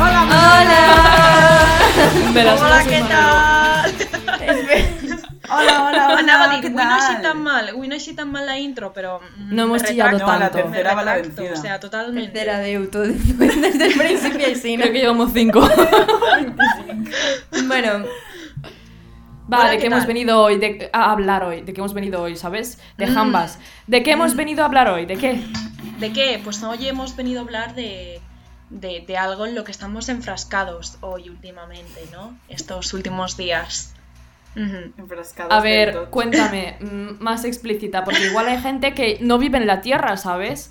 Ah, Me las Hola, paso què mal. tal? Hola, hola, hola. Anava a dir, ¿qué avui no ha tal?" eixit tan mal, avui no ha eixit tan mal la intro, però... mm, No hemos me chillado retracto, tanto. No, la tercera va la me retracto, vencida. O sea, totalmente. Tercera de todo desde el principio y sí, ¿no? Creo que llevamos cinco. Bueno, Vale, Hola, ¿de ¿qué qué hemos tal? venido hoy de- a hablar hoy? ¿De qué hemos venido hoy, sabes? De Mm. jambas. ¿De qué hemos venido a hablar hoy? ¿De qué? ¿De qué? Pues hoy hemos venido a hablar de, de, de algo en lo que estamos enfrascados hoy últimamente, ¿no? Estos últimos días. Ujú. Enfrascados A del ver, tot. cuéntame, mm, más explícita, porque igual hay gente que no vive en la tierra, ¿sabes?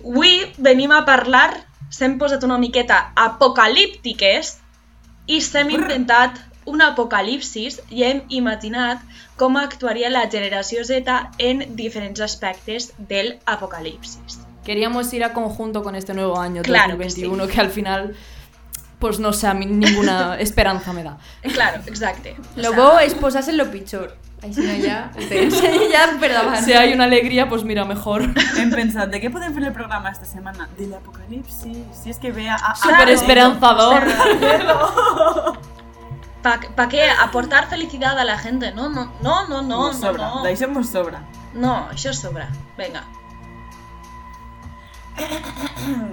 Avui venim a parlar, s'hem posat una miqueta apocalíptiques i s'hem inventat un apocalipsis i hem imaginat com actuaria la generació Z en diferents aspectes del apocalipsis. Queríamos ir a conjunto con este nuevo año Claro que sí. 2021 que, al final, pues no sé, a mí ninguna esperanza me da. Claro, exacte. O sea, luego esposas en lo pichor. Ahí si no ya, ustedes ya perdaban. Si hay una alegría, pues mira, mejor. Hem pensat, de què podem fer el programa esta setmana? De l'apocalipsi. Si és que ve a... a Súper esperanzador. ¿Para qué? Aportar felicidad a la gente, ¿no? No, no, no, no, No, no, sobra, no. deixem-vos sobra. No, això sobra. Venga.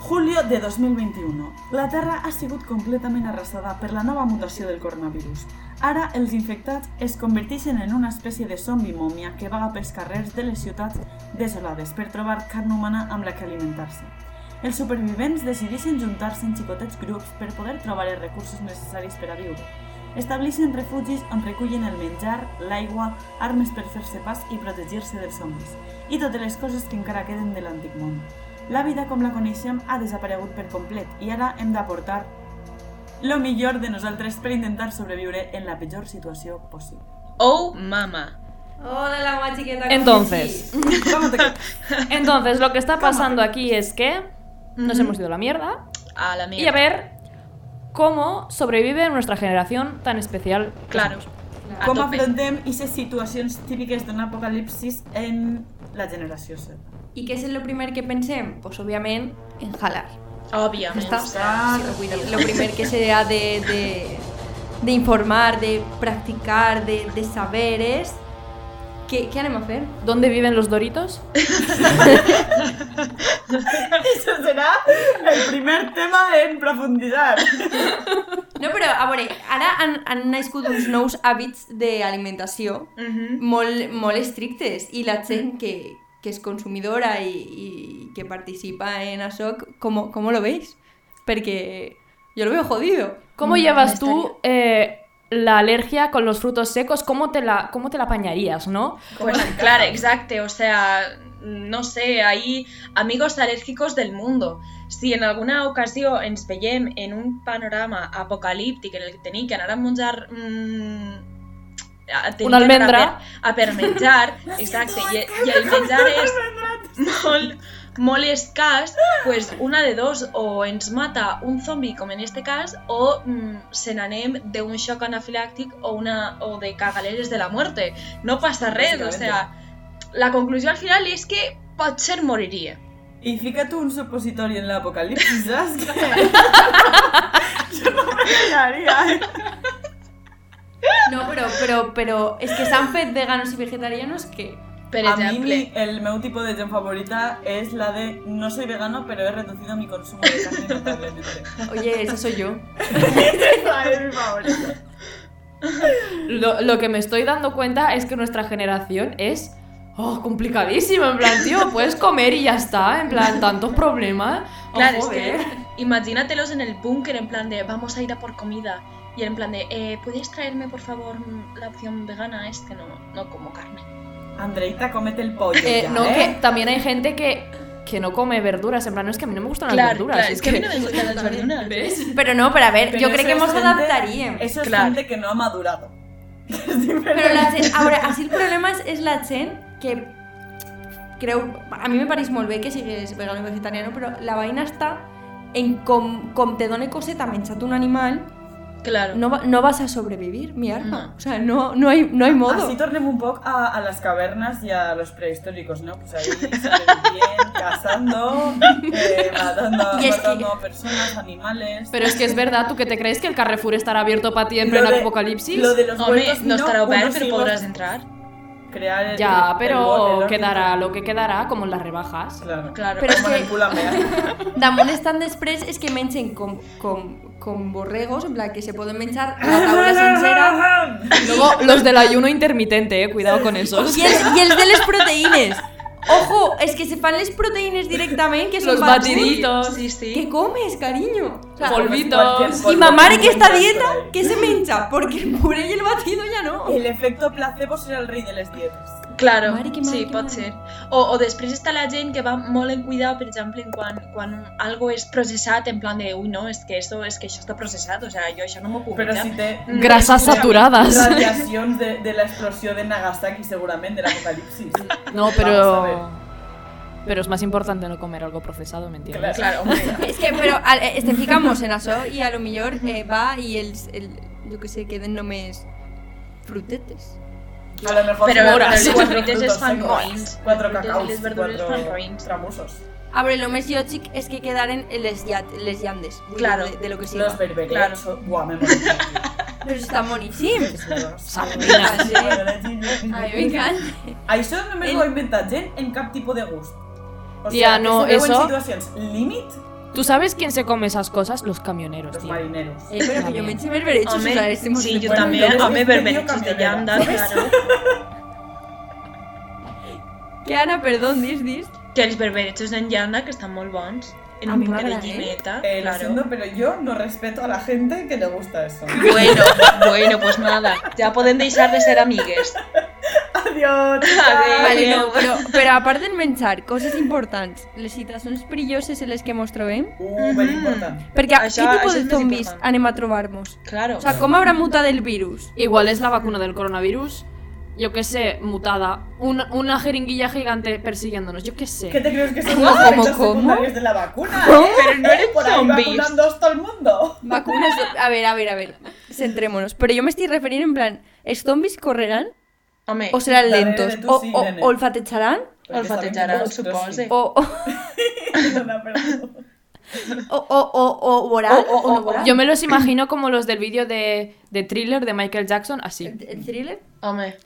Julio de 2021. La Terra ha sigut completament arrasada per la nova mutació del coronavirus. Ara, els infectats es converteixen en una espècie de zombi mòmia que vaga pels carrers de les ciutats desolades per trobar carn humana amb la que alimentar-se. Els supervivents decideixen juntar-se en xicotets grups per poder trobar els recursos necessaris per a viure. Estableixen refugis on recullen el menjar, l'aigua, armes per fer-se pas i protegir-se dels zombis, i totes les coses que encara queden de l'antic món. La vida com la coneixem ha desaparegut per complet i ara hem d'aportar lo millor de nosaltres per intentar sobreviure en la pitjor situació possible. Oh, mama. Hola, la mamá chiqueta. Entonces, Com te entonces lo que está pasando aquí es que nos Ujú. hemos ido a la mierda A la mierda. y a ver cómo sobrevive nuestra generación tan especial. que Claro. somos. A Com tope. afrontem aquestes situacions típiques d'un apocalipsis en la generació Z? ¿Y qué es lo primero que pensé? Pues obviamente en jalar. Obviamente. Está. Ah, Lo primero que se ha de, de, de informar, de practicar, de, de saber es... ¿Qué, qué haremos a hacer? ¿Dónde viven los doritos? Això serà el primer tema en profunditzar. No, però a veure, ara han, han nascut uns nous hàbits d'alimentació Mhm. molt, molt estrictes i la gent que, que és consumidora i, i que participa en això, com, com lo veis? Perquè jo lo veo jodido. ¿Cómo Mm, llevas me tú eh, la alergia con los frutos secos? ¿Cómo te la, cómo te la apañarías, no? Pues claro, exacto. O sea, no sé, hay amigos alérgicos del mundo. Si en alguna ocasió ens veiem en un panorama apocalíptic en el que tenim que anar a menjar... Mm, a tenir Una que anar almendra. A per, a per menjar, exacte, i, i el menjar és molt, molt escàs, pues una de dos, o ens mata un zombi, com en este cas, o mm, se n'anem d'un xoc anafilàctic o, una, o de cagaleres de la muerte. No passa res, o sea, la conclusió al final és que potser moriria. I fica tu un supositori en l'apocalipsis, saps què? Jo no me callaria. No, però, però, però és que s'han fet veganos i vegetarianos que... Per A mí exemple, mi- el meu tipo de gent favorita es la de no soy vegano, pero he reducido mi consumo de carne notablemente. Oye, esa soy yo. Esa es mi favorita. Lo, lo que me estoy dando cuenta es que nuestra generación es oh, complicadísima. En plan, tío, puedes comer y ya está. En plan, tantos problemas. Oh, claro, es joder. que imagínatelos en el búnker en plan de vamos a ir a por comida y en plan de eh, ¿puedes traerme por favor mm, la opción vegana? Es que no, no como carne. Andreita, cómete el pollo Eh, ya, no, ¿eh? que también hay gente que, que no come verduras. En plan, no es que a mí no me gustan las Ah, verduras. claro, es que a mí no me gustan las verduras. ¿Ves? Però no, però a veure, Pero jo eso crec que es mos gente- adaptaríem. Eso es Claro. gente que no ha madurado. Es diferente. Però la gent, a veure, així el problema és, és la gent que creu, a mi me pareix molt bé que sigues vegano o vegetariano, però la vaina està en com, com te done coseta menjar-te un animal, Claro. no, va- no vas a sobrevivir, mi arma. No. O sea, no, no, hay, no hay modo. Así tornemos un poco a, a las cavernas y a los prehistóricos, ¿no? Pues ahí sobrevivían, cazando, eh, anda Y es que- matando a personas, animales. Pero es que es verdad, ¿tú que te crees que el Carrefour estará abierto para ti en Lo pleno de- apocalipsis? Lo de los Hombre, huertos, no estará open, unos pero higos- podrás entrar. crear el- Ya, el- el- pero el- quedará lo que quedará, como en las rebajas. Claro. Claro. Pero es que- Manipúlame. ¿eh? Damunt estan després és que mengen com, com, com borregos, en plan que se poden menjar la taula sencera Luego, los del ayuno intermitente, eh, cuidado con esos. i els, i els de les proteïnes. Ojo, és que se fan les proteïnes directament, que són Los batidos. batiditos. Sí, sí. ¿Qué comes, cariño? O sea, Polvo. Cualquier y polvo mamar que esta encuentras dieta, por ahí. ¿qué se mencha? Porque el puré y el batido ya no. El efecto placebo serà el rei de les dietes. Claro, Mare que mare, sí, que pot mare. ser. O, o després està la gent que va molt en cuidar, per exemple, en quan, quan algo és processat, en plan de, ui, no, és que, esto, és que això està processat, o sea, jo això no m'ho puc Però menjar". si té Mm, Grasas escúchame, saturadas. radiacions de, de l'explosió de Nagasaki, segurament, de l'apocalipsis. No, Vamos a pero. Pero es más importante no comer algo procesado, ¿me entiendes? Claro. Claro, home, Es que, pero a, eh, este fijamos en eso y a lo mejor eh, va y el, el yo que sé, queden només frutetes. A lo mejor Pero- son pero cuatro los fruites frutos fan secos, ruins. Cuatro Los fruites y cacaos, los verduras fan cuatro ruins. tramusos. A ver, lo més lògic és que quedaren les, llat, les llandes. Claro. De, de lo que siga. Los berberets. Claro. son- Buah, me morí. Però està boníssim. Sardinas. A mi m'encanta. A això només ho ha inventat gent en cap tipus de gust. O sigui, Tia, no, que se veu eso- en situacions límit, ¿Tú sabes quién se come esas cosas? Los camioneros, los tío. marineros. Eh, però que jo menys berberechos, home, o sea, estem sí, jo Bueno, també, entonces home, es berberechos medio de llanda, camionera. claro. Que Anna, perdó, dis, dis. Que els berberechos en llanda, que estan molt bons. En A un mi poc de m'agrada, eh? llimeta, Eh, lo siento, claro. pero yo no respeto a la gente que le gusta eso. Bueno, bueno, pues nada, ja podem deixar de ser amigues. Adiós. Adeu. Vale, no, Adeu. però, però a part del menjar, coses importants, les situacions perilloses en les que mos trobem, Uh, ben important. perquè Això- això, què tipus això de és més zombis important. anem a trobar-nos? Claro. O sea, com haurà mutat el virus? Igual es la vacuna del coronavirus, yo qué sé, mutada. Una, una jeringuilla gigante persiguiéndonos, yo qué ¿Qué sé. te crees que son ¿Cómo, los cómo, efectos cómo? secundarios de la vacuna? Eh, ¿Cómo? Pero no eres Por ahí zombies. vacunando a todo el mundo. Vacunes... A ver, a ver, a ver, centrémonos. Però jo m'estic referint en plan, els zombis correran Home, o seran Darrere lentos? de tu O, sí, o, nene. o olfatejaran? Els batejaran, supose. O, o, Perdona, perdona. o, o, o, o oral? O- o- no o- oral? Yo me los imagino como los del vídeo de, de thriller de Michael Jackson, así. El, el thriller? Home.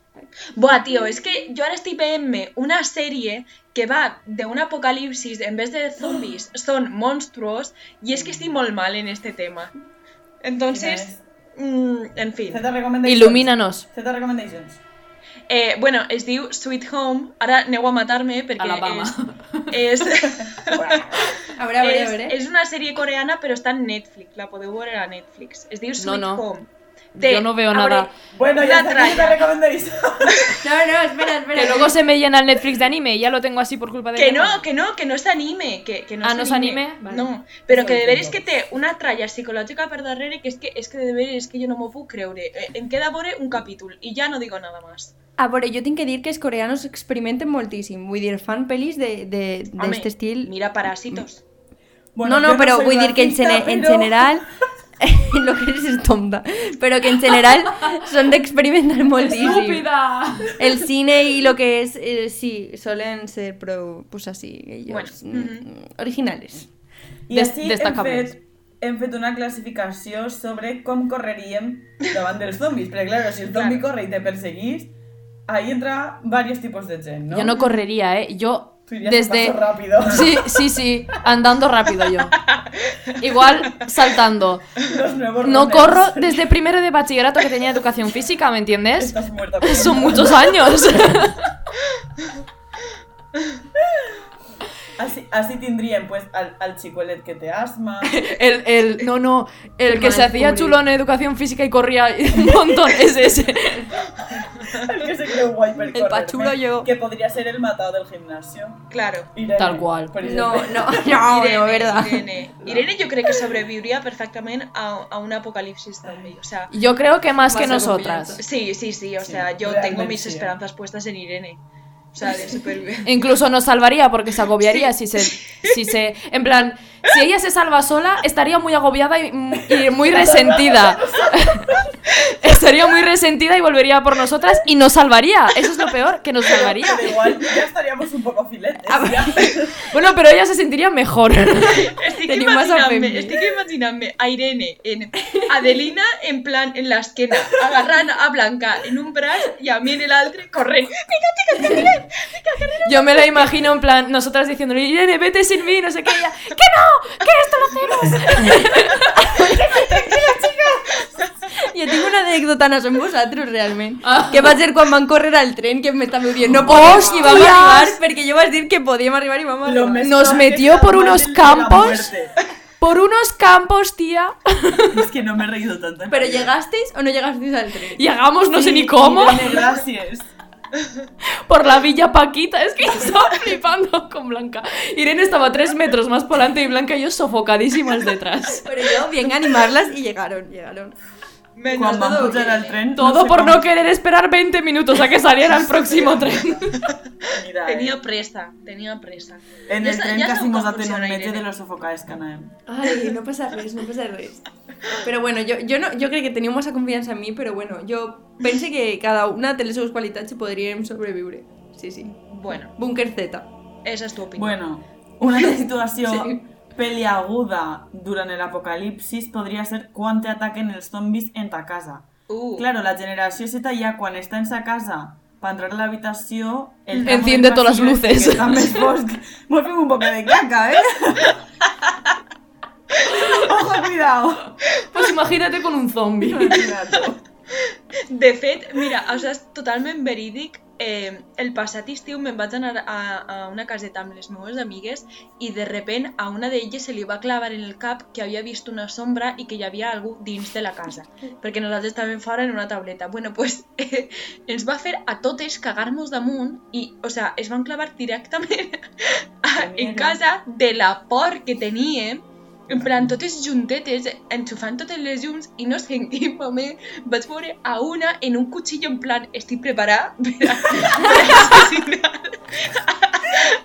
Buah, tío, es que yo ahora estoy PM una serie que va de un apocalipsis en vez de zombies, son monstruos, y es que estoy muy mal en este tema. Entonces, mm, en fin. eh. Z Recommendations. Ilumínanos. Z Recommendations. Eh, bueno, es diu Sweet Home, ahora aneu a matar-me perquè Alabama. és... És, A veure, a veure, és, a eh. veure. és una sèrie coreana però està en Netflix, la podeu veure a Netflix. Es diu Sweet no. Home. Yo no veo abre- nada. Bueno, Una ya está aquí Z tralla. Recommendations. No, no, espera, espera. Que luego se me llena el Netflix de anime y ya lo tengo así por culpa de Que ella. no, que no, que no es anime. Que, que no Ah, es no es anime? Vale. No, pero que Eso de veres que entiendo. té una tralla psicològica per darrere que és que, és que de veres que jo no m'ho puc creure. Eh, Em queda veure un capítol i ja no digo nada más. A veure, jo Ah, tinc que dir que els coreanos experimenten moltíssim. Vull dir, fan pel·lis d'aquest de, de, Home, este d'este estil. Mira Parásitos. Bueno, no, yo no, però soy vull dir que en, racista, gene, en pero- general... lo que eres és tonta. Però que en general són d'experimentar moltíssim. ¡Estúpida! El cine i lo que és, eh, sí, solen ser prou, pues así, ellos, Bueno, mm, originales. I Des- així hem destacables. fet, hem fet una classificació sobre com correríem davant dels zombis. Perquè, clar, si el zombi corre i te perseguís, ahí entra varios tipos de gent, no? Yo no correría, ¿eh? Yo Tú irías desde... a paso rápido. Sí, sí, sí. Andando rápido yo. Igual saltando. Los nuevos No runners. corro desde primero de bachillerato que tenía educación física, ¿me entiendes? Estás muerta. pues. Son muchos años. Así, así tendrían, pues, al, al chicolet que te asma. El, el, no, no, el que se Hermana hacía Kubrick. chulo en educación física y corría un montón, es ese. El que se cree guay per El pachulo correrme, yo. Que podría ser el matado del gimnasio. Claro. Irene, Tal cual. por No, ejemplo. no, Ah, no, no, verdad. Irene. Irene jo crec que sobreviuria perfectament a, a un apocalipsis zombie. O sea, Yo creo que más Vas que a nosotras. sí, sí, sí, o Sí, sea, yo realmente tengo mis sí. esperanzas puestas en Irene. O sea, de supervivencia. Incluso nos salvaría porque se agobiaría si se... Si se en plan, si ella se salva sola, estaría muy agobiada y, y muy resentida. estaría muy resentida y volvería por nosotras y nos salvaría. Eso es lo peor, que nos salvaría. Pero igual ya estaríamos un poco filetes. A ver, Bueno, pero ella se sentiría mejor. Estic Teniu massa imaginant-me, femenina. estic imaginant-me a Irene, en Adelina, en plan, en l'esquena, agarrant a Blanca en un braç i a mi en l'altre, corrent. Yo me la imagino en plan, nosotras diciéndole, Irene, vete sin mí, no sé qué, y ella, que no, que esto lo hacemos. Jo tinc una anècdota, no som vosaltres realment. Ah. Que va ser quan van córrer al tren que m'estava dient no Oh, Ah. podem sí, ni vam vam arribar arribar. perquè jo vaig dir que podíem arribar i vam Lo arribar. més Nos probable metió que por la unos madre de la campos. muerte. Por unos campos, tía. Es que no me he reído tanto. en Pero mi vida. llegasteis o no llegasteis al tren? Llegamos, no sé Sí, ni cómo, Irene, gracias. por la Villa Paquita. Es que estaba flipando con Blanca. Irene estaba tres metros más por delante y Blanca y yo sofocadísimas detrás. Pero yo bien a animarlas y llegaron, llegaron. Quan Menos vam todo eh. pujar al tren... Todo por no querer esperar 20 minutos a que saliera el próximo tren. Mira, eh, Tenía presa, tenía presa. en Ja el sa- tren ja casi sabeu nos com daten un funciona, metge de Irene. los eh. sofocades que anàvem. Ay, no pasa res, no pasa res. Però bueno, jo, jo, no, jo crec que teniu massa confiança en mi, però bueno, jo pense que cada una té les seves qualitats i podríem sobreviure. Sí, sí. Bueno, Búnker Z. esa es tu opinión. Bueno, una altra situació Sí. peliaguda durant l'apocalipsis podria ser quan t'ataquen els zombis en ta casa. Uh, Claro, la generació Z ja quan està en sa casa per entrar a l'habitació... el tramo Enciende del todas pasillo las este que luces. Està més fosc. M'ho fem un poco de caca, eh? Ojo, cuidado. Pues imagínate con un zombie. Cuidado. De fet, mira, o sigui, és totalment verídic. Eh, el passat estiu me'n vaig anar a, a una caseta amb les meves amigues i de repent a una d'elles se li va clavar en el cap que havia vist una sombra i que hi havia algú dins de la casa, perquè nosaltres estàvem fora en una tauleta. bueno, pues, eh, ens va fer a totes cagar-nos damunt i, o sigui, es van clavar directament a, en casa de la por que teníem en plan, totes juntetes, enxufant totes les llums i no sé en quin moment vaig veure a una en un cuchillo en plan, estic preparada per a- per a assassinar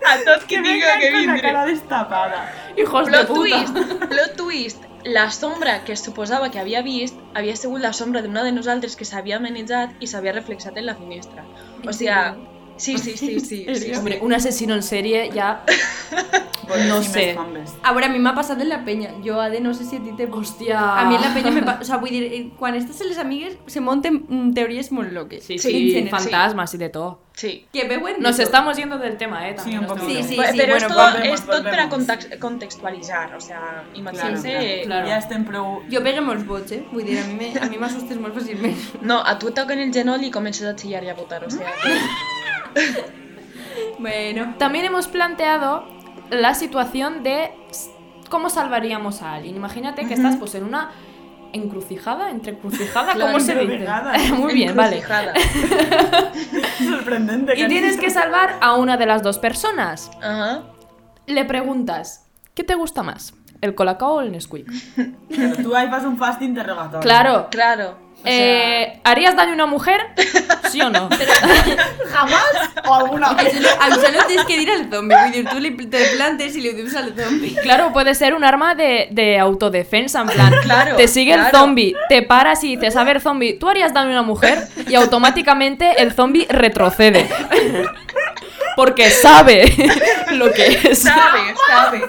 a tot qui Que diga vengan que con la vindré. cara destapada. Hijos de Plot puta. twist, plot twist. La sombra que es suposava que havia vist havia sigut la sombra d'una de nosaltres que s'havia menjat i s'havia reflexat en la finestra. O sea, sí, sí, sí, sí. sí, sí. Hombre, un asesino en serie ya. No Boníssimes sé. combes. A veure, a mi m'ha passat en la penya. Jo, Ade, no sé si a ti te... Hostia. A mi en la penya me passa... O sea, vull dir, eh, quan estàs amb les amigues se monten mm, teories molt loques. Sí, Sí, sí, en general. fantasmas y de todo. sí. Que veuen... de Nos tot. estamos yendo del tema, ¿eh? También un nos poco. estamos- Sí, sí, Bueno, sí. pero bueno, esto volvemos, es todo para volvemos. contax- contextualizar, o sea, imagínense... Claro, Claro. Ja estem prou... Jo pegué molts vots, eh? Vull dir, a mi me- a mi m'assustes molt fàcilment. No, a tu et toquen el genoll i comences a chillar i a votar, o sea... que- Bueno. También hemos planteado la situación de s- cómo salvaríamos a alguien. Imagínate que estás pues en una encrucijada, entrecrucijada, Claro, ¿cómo se dice? encrucijada. Muy bien, vale. Encrucijada. Sorprendente. Y tienes que salvar a una de las dos personas. Ajá. Le preguntas, ¿qué te gusta más? ¿El colacao o el Nesquik? Claro, tú ahí vas un fast interrogatorio. Claro. Claro. O sea, Eh, ¿Harías daño a una mujer? ¿Sí o no? ¿Jamás o alguna vez? A Absalom tens que dir al zombi. Vull dir, tu li, te plantes i li ho dius al zombi. Claro, puede ser un arma de, de autodefensa, en plan. Claro, te sigue el claro. zombie, te paras y dices, a ver, zombie, tú harías daño a una mujer y automáticamente el zombie retrocede. Porque sabe lo que es. Sabes, sabes.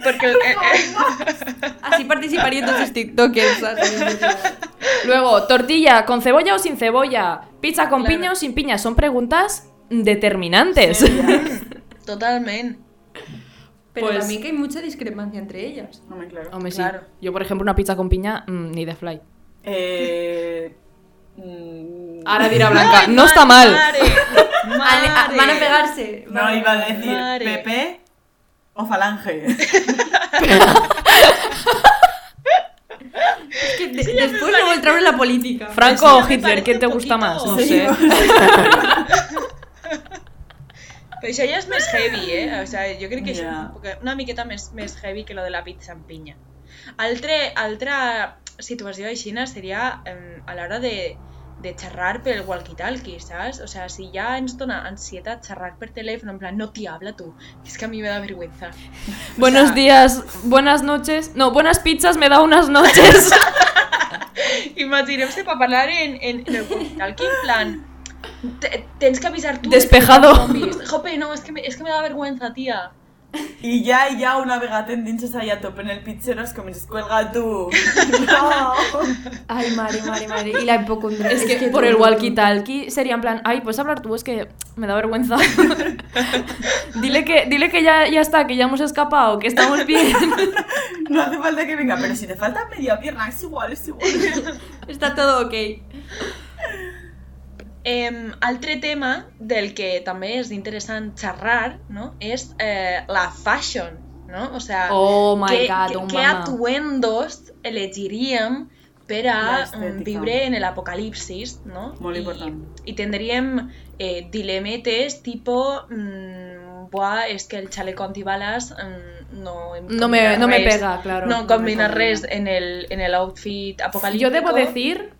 Porque el- eh, eh, Així participarien tots els tiktokers, saps? Luego, tortilla con cebolla o sin cebolla, pizza con Claro. piña o sin piña, son preguntas determinantes. eh. totalmente. Però Pues- también que hay mucha discrepancia entre ellas. No me claro. Hombre, sí. Claro. Yo, por ejemplo, una pizza con piña, mm, ni de fly. Eh... mm, Ahora dirá Blanca, no Ay, está mal. mare, Ale, a, mare. van a pegarse. No, iba a decir Mare. Pepe o Falange. Es que de, después luego entraron en la política. Franco Eso o ya Pues me Hitler, parece ¿quién te un gusta más? poquito- No sé. Pero eso ya es más heavy, ¿eh? O sea, yo creo que es Ya. un poca- una miqueta más, más heavy que lo de la pizza en piña. Altre, altra situació aixina seria eh, a l'hora de, de xerrar pel walkie-talkie, saps? O sea, si ja ens dona ansietat xerrar per telèfon, en plan, no t'hi habla tu, és que a mi me da vergüenza. Buenos sea- días, buenas noches. No, buenas pizzas me da unas noches. Imaginem-se per parlar en, en, en el walkie-talkie, en plan... te- Tens que avisar tu... Despejado. Jope, no, es que, me, es que me da vergüenza, tía. I ja, i ja, una vegada t'endinses allà a tope en el pitxero, es comences, cuelga tu. No. Ay, madre, madre, madre. Y la hipocondria. Es que, por el walkie-talkie sería en plan, ay, puedes hablar tú, es que me da vergüenza. dile que, dile que ya, ya está, que ya hemos escapado, que estamos bien. no hace falta que venga, pero si te falta media pierna, es igual, es igual. Está todo ok. Em, altre tema del que també és interessant xerrar no? és eh, la fashion, no? O sea, Oh my què, god, què, un què mamà. atuendos elegiríem per a La mm, estètica. viure en l'apocalipsis, no? Molt I, important. I tindríem eh, dilemetes tipo... Mm, Buah, és que el xaleco antibales mm, no... em No me, combina no me res. pega, claro. No combina combina. res en el, en el outfit apocalíptico. Yo debo decir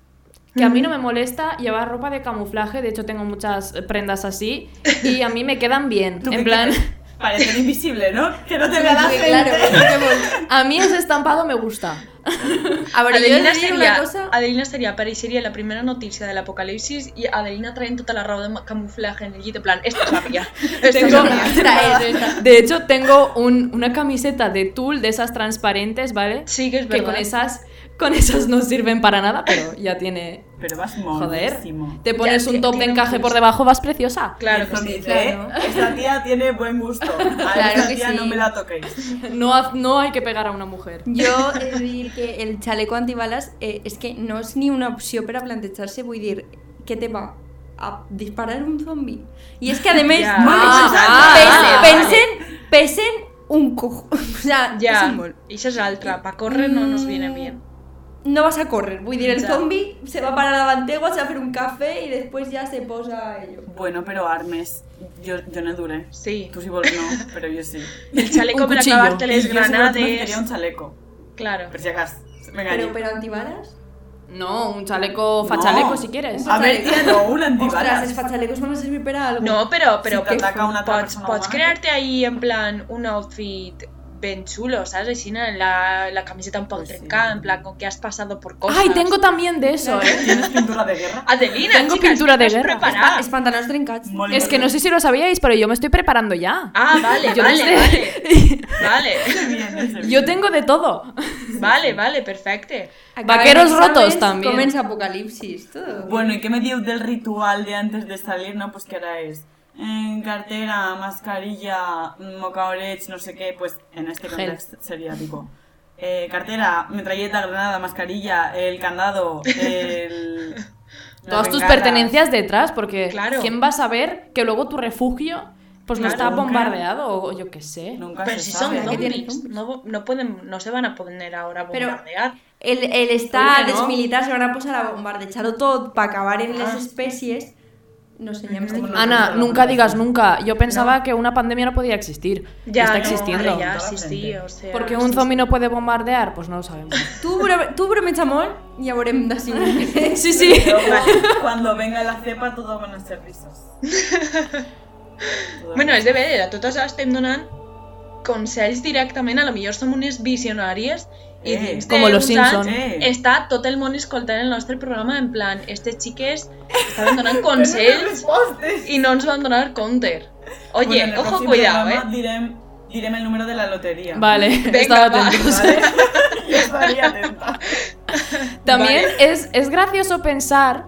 que a mí no me molesta llevar ropa de camuflaje, de hecho tengo muchas eh, prendas así y a mí me quedan bien. ¿Tú qué En plan, quieres? Parecer invisible, ¿no? Que no te vea la gente. Claro, no te mol- a mí ese estampado me gusta. A ver, yo Adelina he de dir una seria, cosa... Adelina seria, apareixeria la primera notícia de l'apocalipsis i Adelina traient tota la roba de ma- camuflatge en el llit, en plan, esta és la mía, esta és la Tengo- mía. Esta es, esta. De hecho, tengo un- una camiseta de tul de esas transparentes, ¿vale? Sí que és Que con verdad. esas, con esas no sirven para nada, pero ya tiene... Pero vas Joder, monísimo. te pones Ya, un top de tiene un encaje por gusto. debajo, vas preciosa. Claro que Entonces sí. dice, "Eh, claro. Esta tía tiene buen gusto. A Claro esta que tía sí. no me la toquéis. No, haz- no hay que pegar a una mujer. Jo he de dir que el xaleco antibalas eh, és que no és ni una opció per a plantejar-se, vull dir, què te va? A disparar un zombi? I és que, a més, Ja. no, Ah, pensen- vale, pensen, pensen un cojo. O sea, Ja, pensen molt. això és altra. Pa córrer no nos viene Mm. bien. No vas a córrer, vull dir, el Ja. zombi se va parar davant teu, se va fer un cafè i després ja se posa a ello. Bueno, pero Armes, yo, yo no duré. Sí. Tú sí vol- no, pero yo sí. El chaleco Un per cuchillo. acabar-te les Yo seguramente me granades. quería un chaleco. Claro. Pero si acaso, me engañé. Però, però antibalas? No, un chaleco No. fachaleco si quieres. A ver, tía, no, un antibalas. Ostres, els fachalecos van a servir per a algo. No, però, però Si t'ataca una altra pots, persona pots humana. crear-te ahí en plan un outfit ben xulo, saps? Així la, la camiseta un poc Pues sí. trencada, en plan, con que has pasado por cosas. Ay, tengo también de eso, ¿eh? ¿Tienes pintura de guerra? Adelina, Tengo chicas, pintura de estás guerra. preparada. Els pantalons trencats. Molt Es que no sé si lo sabíais, pero yo me estoy preparando ya. Ah, vale, Yo no vale, sé. vale. Vale, Bien, ese bien. Yo tengo de todo. vale, vale, perfecte. Acaben Vaqueros exàmens, rotos, también. Comença apocalipsis, todo. Bueno, ¿y qué me dio del ritual de antes de salir? No, pues que ahora es en cartera, mascarilla, mocaorech, no sé qué, pues en este Gel. contexto sería tipo eh, cartera, metralleta, granada, mascarilla, el candado, el... las Todas tus bengalas. pertenencias detrás, porque Claro. ¿quién va a saber que luego tu refugio pues no Claro, está nunca. bombardeado o yo qué sé? Nunca Pero se si sabe. son ¿qué tienen zombies, zombies? no, no pueden, no se van a poner ahora a Pero- bombardear. El, el estar Oye, ¿no? desmilitar se van a posar a bombardearlo todo para acabar en las Ah. especies. No sé, ya me estoy Ujú. equivocando. Ana, no, nunca no. digas nunca. Yo pensaba que una pandemia no podía existir. Ya Está no, existiendo. hombre, ya, Toda sí, la sí, gente. o sea, Porque sí, un sí. zombie no puede bombardear, pues no lo sabemos. Tú, bro, tú bromecha mol y habremos así. Sí, sí. Pero cu- cuando venga la cepa todo van a ser risas. Todo Bueno, és de veure, a totes estem donant consells directament, a lo millor som unes visionàries i Eh. dins Como los d'uns anys Simpson. Eh. està tot el món escoltant el nostre programa en plan, estes xiques estaven donant consells Postes. i no ens van donar counter. Oye, Bueno, en el ojo, próximo cuidado, eh? programa direm- direm el número de la lotería. Vale, Venga, estaba va. atentos. ¿Vale? Yo estaría atenta. También es, es gracioso pensar,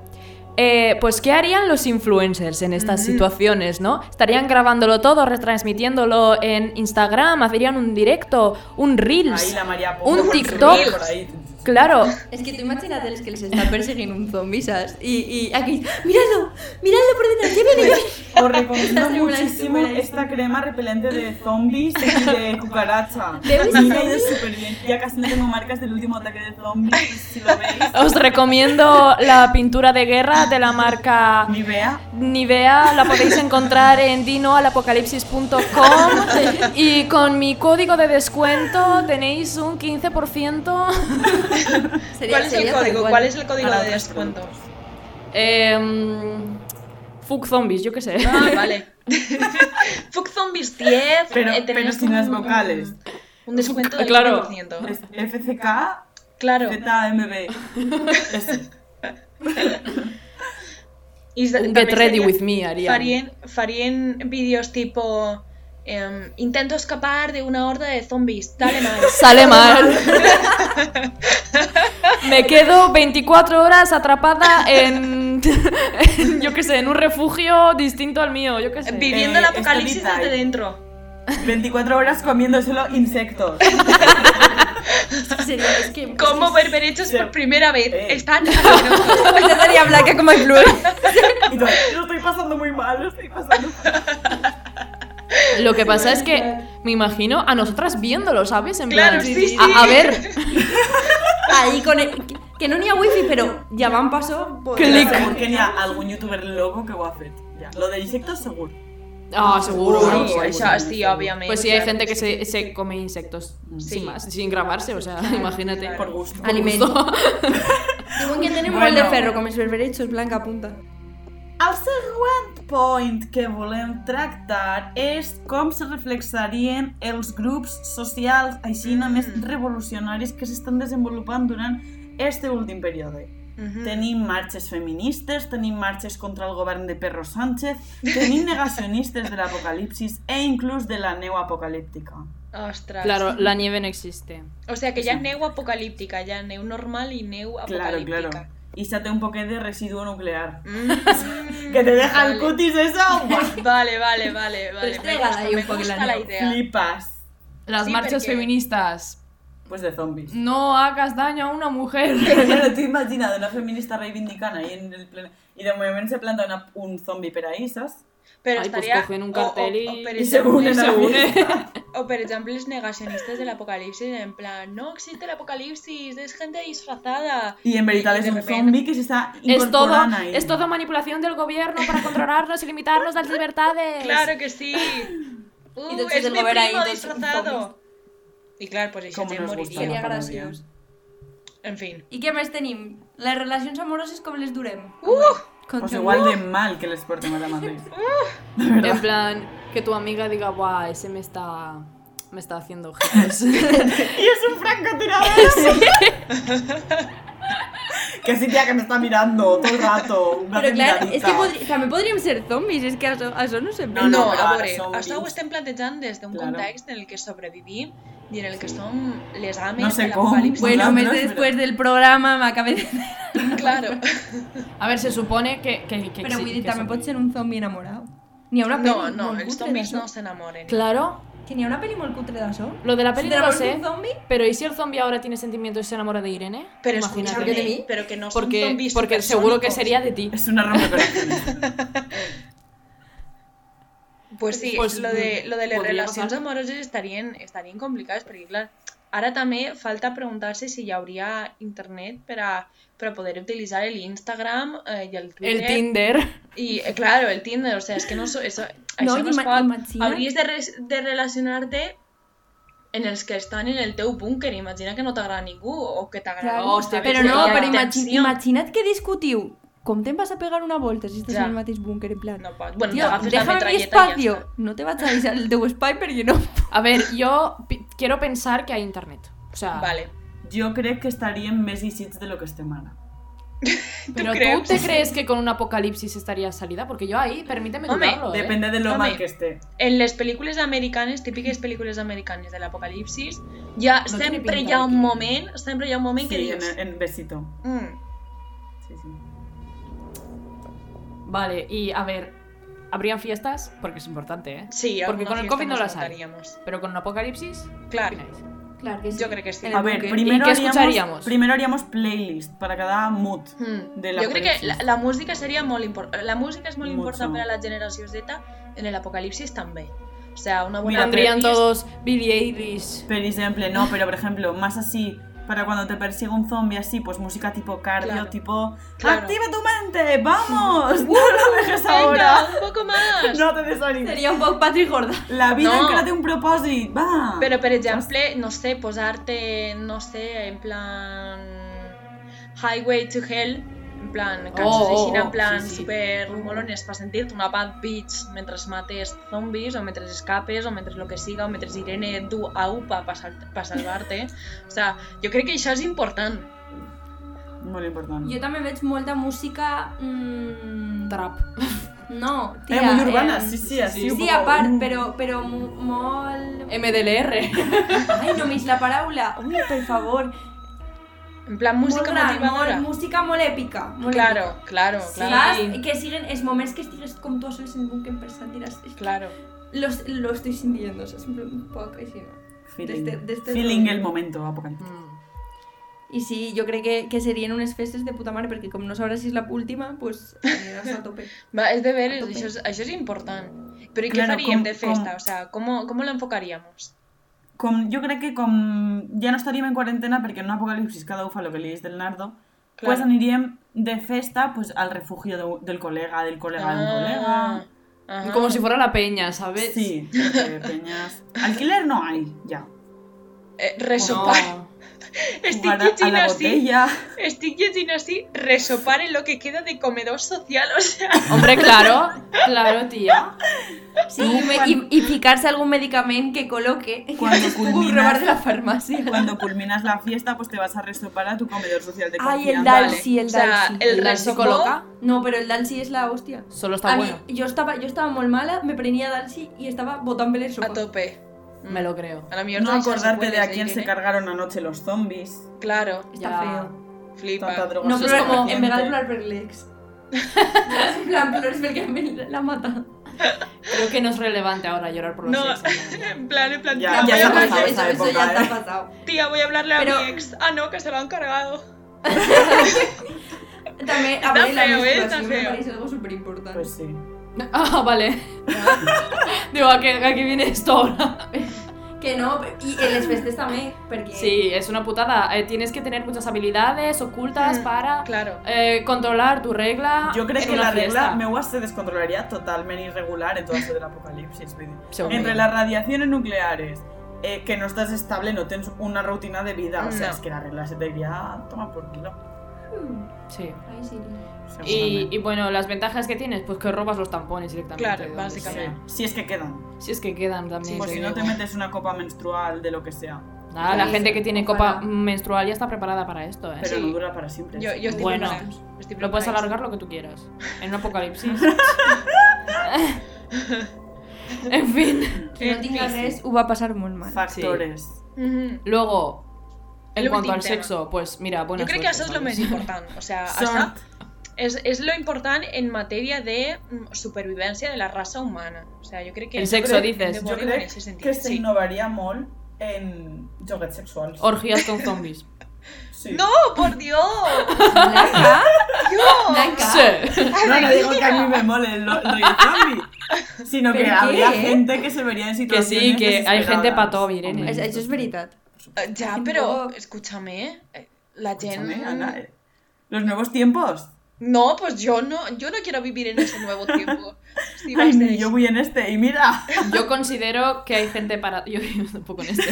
eh, pues, ¿qué harían los influencers en estas Ujú. situaciones, no? ¿Estarían grabándolo todo, retransmitiéndolo en Instagram? ¿Harían un directo? ¿Un Ahí Reels? la María Pombo Un con su TikTok. reel por ahí. Claro, Es que tú imagínate los que les está persiguiendo un zombie, ¿sabes? Y, y aquí, ¡míralo! ¡Míralo por detrás! ¡Ya viene! ya viene! Os recomiendo Estás en una muchísimo estupenda esta crema repelente de zombies y de cucaracha. Debes Me ha ido súper bien. Ya casi no tengo marcas del último ataque de zombies. Si lo veis, os recomiendo la pintura de guerra de la marca ni vea. Nivea, la podéis encontrar en dinoalapocalipsis.com y con mi código de descuento tenéis un 15%. Sería- ¿Cuál es el sería tal código? cual. ¿Cuál es el código Para de otros descuento? Em, fuck zombies, yo qué sé. Ah, vale. Fuck Zombies 10. Pero- eh, tenemos pero sin las un- vocales. Un descuento del Claro. 15%. Es FCK Claro. ZMB. Ese. I s- Un també get ready seria- with me harían. Farien, farien vídeos tipo em, intento escapar de una horda de zombies, sale mal. Sale mal. Me quedo 24 horas atrapada en, en, yo qué sé, en un refugio distinto al mío, yo qué sé. Viviendo el Eh, apocalipsis Estabilidad. desde dentro. 24 horas comiendo solo insectos. Es que sería, es que. Como ver berechos por primera vez. Eh. Están asquerosos. Me daría blanca como el blur. Y tú, lo estoy pasando muy mal, lo estoy pasando. Lo que pasa es que me imagino a nosotras viéndolo, ¿sabes? En Claro, plan, sí, sí. A, a ver, Ahí con el- Que no ni a wifi, pero ya van paso. pues, Clic. Seguro que hi ha algun youtuber loco que ho ha fet. Ja. Lo de insectos, segur. ah, seguro. Seguro. Bueno, Sí, eso, pues, sí, sí, sí. obviamente. Pues sí, hay gente que sí, se, se come insectos Sí. sin más, sin grabarse, o sea, imagínate. claro. Por gusto. Alimento. Diuen que tenen molt Bueno. de ferro, com els berberechos, blanca punta. El següent point que volem tractar és com se reflexarien els grups socials així mm. més Mm. revolucionaris que s'estan desenvolupant durant este últim període. Ujú. Tenim marxes feministes, tenim marxes contra el govern de Perro Sánchez, tenim negacionistes de l'apocalipsis e inclús de la neu apocalíptica. Ostras. Claro, la nieve no existe. O sea que ya neu apocalíptica, ya neu normal y neu Claro, apocalíptica. claro. I se té un poquet de residu nuclear. Mm. Que te deja el Vale. cutis eso, buah, Vale, vale, vale, vale. Me Pues trégala gusta, ahí un me poco la gusta la neu. idea. flipas. Las Sí, marchas porque- feministas. Pues de zombies. No hagas daño a una mujer. Però claro, tu imagina't una feminista reivindicant ahí en el ple... i de moment se planta una, un zombi per ahí, saps? Pero Ay, pues estaría. cogen un o- cartel o- y- o per I se unen exemple- a la fiesta. O por ejemplo, los negacionistas del apocalipsis, en plan, no existe el apocalipsis, es gente disfrazada. I en veritat I és de un repente- zombi que s'està Es todo, incorporant ahí. es todo manipulación del gobierno para controlarnos y limitarnos las libertades. Claro que sí. Uh, entonces es el mi gobernaí, primo entonces, disfrazado. Y claro, pues Como se nos gusta moriría. Seria la paròdia. graciós. En fin. I què més tenim? Les relacions amoroses com les durem? Uh, Com Pues igual de mal que les portem ara mateix. En plan, que tu amiga diga, guau, ese me está. me está haciendo ojitos. I és un francotirador! Sí. Que sí, tía, que me está mirando todo el rato. Una Però clar, miradita. és que podri... també podríem ser zombis, és que això, això no se No, no, veu. no, però a ara veure, som això ho vins. estem plantejant des d'un Claro. context en el que sobrevivim i en el que som les ames No sé de com. l'apocalipsis. Bueno, Bueno, Nosaltres, més però- després del programa m'acabé de... claro. A ver, se supone que. que, que Però sí, vull dir, que també son- pot ser un zombi enamorat. N'hi ha una No, pel·li no, molt els cutre zombis d'això. no s'enamoren. Claro, Que n'hi ha una pel·li molt cutre d'això. lo de la Si peli te no lo enamoras de sé. un zombi, Pero ¿y si el zombie ahora tiene sentimientos y se enamora de Irene? Pero Imagínate. escúchame, ¿De mí? pero que no son Porque, zombies porque seguro que supersónicos. sería de ti. Es una rompecorazones. Pues sí, Pues, lo de, lo de les podria relacions passar. amoroses estarien, estarien complicades, perquè clar, ara també falta preguntar-se si hi hauria internet per a, per a poder utilitzar l'Instagram eh, i el Twitter. El Tinder. Y eh, claro, el Tinder, o sea, es que no... so- Eso, No, això no, i es ima- pot. imagina't. Hauries de, res- de relacionar-te en els que estan en el teu búnquer. Imagina que no t'agrada ningú o que t'agrada... Claro. o Hòstia, sabes Però que no, hi ha però imagi intenció. imagina't que discutiu. Com te'n vas a pegar una volta si estàs Ja. en el mateix búnquer, en plan... No pots. Bueno, Tio, t'agafes la déjame mi metralleta i ja espacio. està. No te vaig a deixar el teu espai perquè no... A ver, yo pi- quiero pensar que hay internet. O sea, Vale. Jo crec que estaríem més eixits de lo que estem ara. pero ¿tú crees? te crees que con un apocalipsis estaría salida? Porque yo ahí, permíteme Hombre, dudarlo, ¿eh? Depende de lo Home. mal que esté. en les pel·lícules americanes, típiques pel·lícules americanes de l'apocalipsis, ja No tiene sempre pinta hi ha de un que- moment, sempre hi ha un moment que Sí, en, dius... en besito. Mm, Sí, sí. Vale, y a ver, ¿habrían fiestas? Porque es importante, ¿eh? sí, Porque alguna con el fiesta COVID no nos las hay. notaríamos. Pero con un apocalipsis, Claro, ¿qué opináis? Clar Eh, que yo creo que sí. En el A ver, búnquer. primero qué haríamos- escucharíamos? primero haríamos playlist para cada mood. Mm. de jo crec que la, l'apocalipsis. la música seria molt important. La música és molt Mucho. important per a la generació Z, en l'apocalipsis també. O sea, una Mira, bona Pondrían playlist- todos Billie Eilish. Por ejemplo, no, pero por ejemplo, más así, para cuando te persigue un zombie así, pues música tipo cardio, Claro. tipo Claro. ¡Activa tu mente! ¡Vamos! ¡No lo dejes ahora! Venga, un poco más. No te desanimes. Seria un poc Patrick Jordan. La vida No. encara té un propósito. Va! Però, per exemple, no sé, posar-te, no sé, en plan... Highway to Hell, en plan, cançons Oh, oh, així, en oh, plan, sí, sí. super molones per sentir-te una bad bitch mentre mates zombis, o mentre escapes, o mentre lo que siga, o mentre Irene et du a UPA per sal pa salvar-te. O sea, jo crec que això és important. Molt important. Jo també veig molta música... Mm, Trap. No, Eh, tia, muy urbana, em, sí, sí, así. Sí, un sí poco, a part, mm. però, però mo- molt... MDLR. Ai, només la paraula. Ui, per favor. En plan, música molt gran, motivadora. Molt, música molt èpica. Molt èpica. Claro, claro, claro. Saps? Que siguen els moments que estigues com tu sols en un búnquer pensant, diràs... "És que Claro. Los, lo estoy sintiendo, saps? En plan, Un poc així, no? Feeling, de este- de este feeling rollo. el momento apocalíptico. Ah. I sí, jo crec que, que serien unes festes de puta mare, perquè com no sabràs si és la última, doncs aniràs a tope. Va, és deberes, A tope. això és, això és important. Però i què Claro, faríem com- de festa? com- O sea, ¿cómo, cómo lo enfocaríamos? Com, jo crec que com ja no estaríem en quarantena perquè en un apocalipsis cada ufa lo que li és del nardo, Claro. pues aniríem de festa pues, al refugio de- del colega, del colega de Ah. un colega. Ah, ajá. Como si fuera la peña, ¿sabes? Sí, porque peñas. Alquiler no hay, ya. Eh, No. resopar. Jugar Sticky a, a Chin la así. botella. Sticky Chin así. Resopar en lo que queda de comedor social. O sea, Hombre, claro. Claro, tía. Sí, i, me- i, i ficar-se algun medicament que col·loque Quan que es pugui culmines- robar de la farmàcia. Cuando culminas la fiesta, pues te vas a resopar a tu comedor social de Ay, el confianza. Dal, sí, el o sea, Dal, sí. el ¿Y la resopó- psicóloga? No, però el Dalsi és la hòstia. Solo está a bueno. mi, jo estava, jo estava molt mala, me prenia Dalsi i estava botant bé les a sopes. tope. Mm. Me lo creo. A la mejor No de esas acordarte de secuelas a quién se Irene. cargaron anoche los zombies. Claro, Està Ja. feo. Tanta flipa. droga. No, Això és però com com suficiente. en vegades plorar per l'ex. en plan, plores perquè me l'ha matat. Creo que no es relevante ahora llorar por los No. ex, en En plan, en plan, Ya, ya tía, voy a se ha hablarle- pasado. eso, esa eso época, ya eh. t'ha passat. tía, voy a hablarle Pero- a mi ex. Ah, no, que se lo han cargado. També, a mi la feo, eh, menstruació està me feo. pareix algo superimportant. Pues sí. plan. Ah, vale. Digo, ¿a qué, a qué viene esto ahora? Que no, i en les festes també, perquè... Sí, es una putada. Eh, tienes que tener muchas habilidades ocultas Mm. para Claro. eh, controlar tu Ah, regla. Jo crec en que una la regla fiesta. meua se descontrolaria totalment irregular en tot això de l'apocalipsis. vull dir. Seguro. Entre les radiacions nucleares, eh, que no estàs estable, no tens una rutina de vida. O sigui, No. és que la regla se t'hauria tomar por culo. Sí. Ai, Mm, sí. Y, segurament. y bueno, las ventajas que tienes, pues que robas los tampones directamente. Claro, de donde básicamente. sea. Si és que queden. Si es que quedan también. Sí, Pues te si no te digo. metes una copa menstrual de lo que sea. Nada, la Sí, gente sí, que tiene ojalá. copa menstrual ya está preparada para esto, ¿eh? Pero Sí. no dura para siempre. Yo, yo estoy Bueno. preparada, estoy Lo puedes preparada. alargar lo que tú quieras. En un apocalipsis. en fin. Qui no Eh, tinga sí, sí. res ho va passar molt mal. Factores. Ujú. Luego, en El cuanto al último tema. sexo, pues mira, bueno. Yo creo que eso es lo más importante. O sea, hasta Sort. es, es lo importante en materia de mm, supervivencia de la raza humana. O sea, yo creo que. El yo creo sexo, que dices. de Jo Bolívar en crec ese sentido, que este sí. s'innovaria molt en joguets sexuals. Orgías con zombies. Sí. ¡No, ¡Oh, por Dios! Blanca, ¡Dios! Blanca. sí. No, no digo que a mí me mole el lo- rollo zombie, sino que ¿Pero habría qué? gente que se vería en Que situaciones sí, que hay gente desesperadas. pa' todo, Irene. Hombre, Això això és veritat. Eh, Ya, Un pero poco- escúchame. eh, La escúchame, gente. Ana, eh. Los nuevos tiempos. No, pues yo no, yo no quiero vivir en ese nuevo tiempo. Sí, Ay, vais ni de- yo voy en este. Y mira, Yo considero que hay gente para. Yo yo tampoco en este.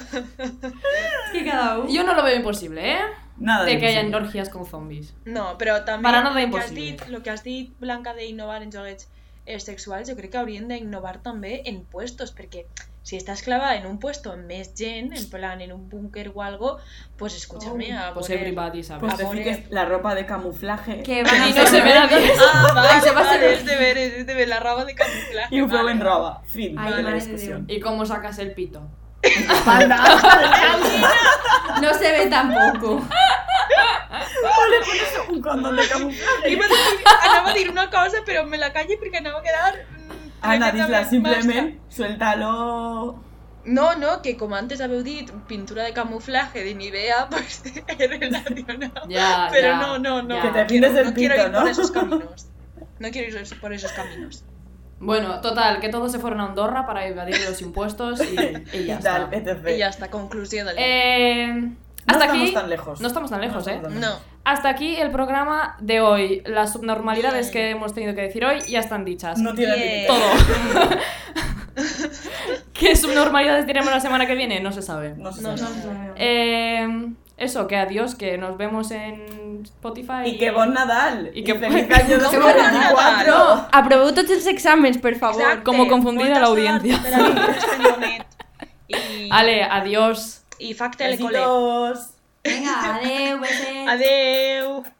És que cada un... Yo no lo veo imposible, ¿eh? nada. De que hayan imposible. orgías con zombies. No, pero también Para nada lo, que has imposible. dit, lo que has dit, Blanca, de innovar en joguets eh, sexuals, jo crec que haurien d'innovar també en puestos, perquè si estàs clavada en un puesto amb més gent, en plan en un búnquer o algo, pues escúchame, a Pues poner- everybody, Pues ¿sabes? te Amores. fijes la ropa de camuflaje. Que van a Y no se ve nadie. Ah, vale, Això va vale, ser- és de ver, és de ver, la roba de camuflaje. Y un flow vale. en roba. Fin Ay, de la madre de discusión. ¿Y cómo sacas el pito? Espalda. No se ve tampoco. un condón de camuflaje. Iba a dir- anava a dir una cosa, però me la calle perquè anava a quedar... mm, Ana, tremendament disla, massa. simplemente suéltalo. No, no, que como antes habéis dicho, pintura de camuflaje de Nivea, pues he relacionado. Ya, Pero ya, no, no, no. ya. Que te Quiero- pintes el no quiero pito, ir por ¿no? esos caminos. No quiero ir por esos caminos. Bueno, total, que todos se fueron a Andorra para evadir los impuestos y, y ya Y tal, está. etc. Y ya está, conclusión del. Eh, No hasta estamos aquí. tan lejos. No estamos tan lejos, ¿eh? estamos tan No, Hasta aquí el programa de hoy. Las subnormalidades que hemos tenido que decir hoy ya están dichas. No tiene Bien. límite. Todo. ¿Qué subnormalidades diremos la semana que viene? No se sabe. No se No, sabe. no. Eh, eso, que adiós, que nos vemos en Spotify. Y que bon Nadal. Y que- feliz año Que bon Nadal. 2024. No. Aproveu tots els exàmens, per favor. exacte. como confundida la audiencia. Vuelta a estar, espera, un moment. Y, Ale, adiós. y facta el cole. Besitos. Vinga, adeu, besets. Adeu.